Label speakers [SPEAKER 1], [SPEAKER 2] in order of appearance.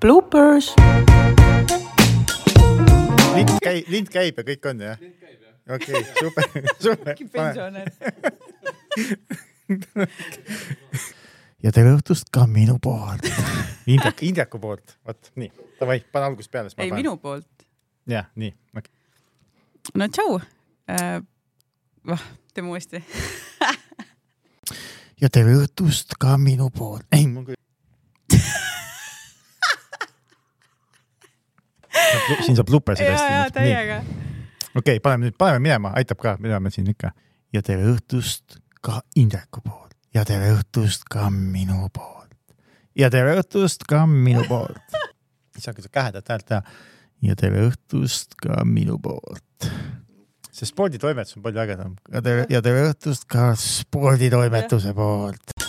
[SPEAKER 1] bloopers .
[SPEAKER 2] lind käib , lind käib ja kõik on jah ? okei , super , super .
[SPEAKER 1] pensionär .
[SPEAKER 2] ja tere õhtust ka minu poolt . Indrek , Indreku poolt , vot nii , davai , pane algusest peale , siis ma
[SPEAKER 1] ei ,
[SPEAKER 2] panen .
[SPEAKER 1] minu poolt .
[SPEAKER 2] jah , nii ,
[SPEAKER 1] no tšau äh, . vah , teeme uuesti .
[SPEAKER 2] ja tere õhtust ka minu poolt . ei , mul küll . siin saab lupesid
[SPEAKER 1] ja , ja
[SPEAKER 2] hästi . nii ,
[SPEAKER 1] täiega .
[SPEAKER 2] okei , paneme nüüd , paneme minema , aitab ka , mida me siin ikka . ja tere õhtust ka Indreku poolt ja tere õhtust ka minu poolt ja tere õhtust ka minu poolt . ei saa küll seda kähedat häält teha . ja tere õhtust ka minu poolt . see sporditoimetus on palju ägedam ja tere , ja tere õhtust ka sporditoimetuse poolt .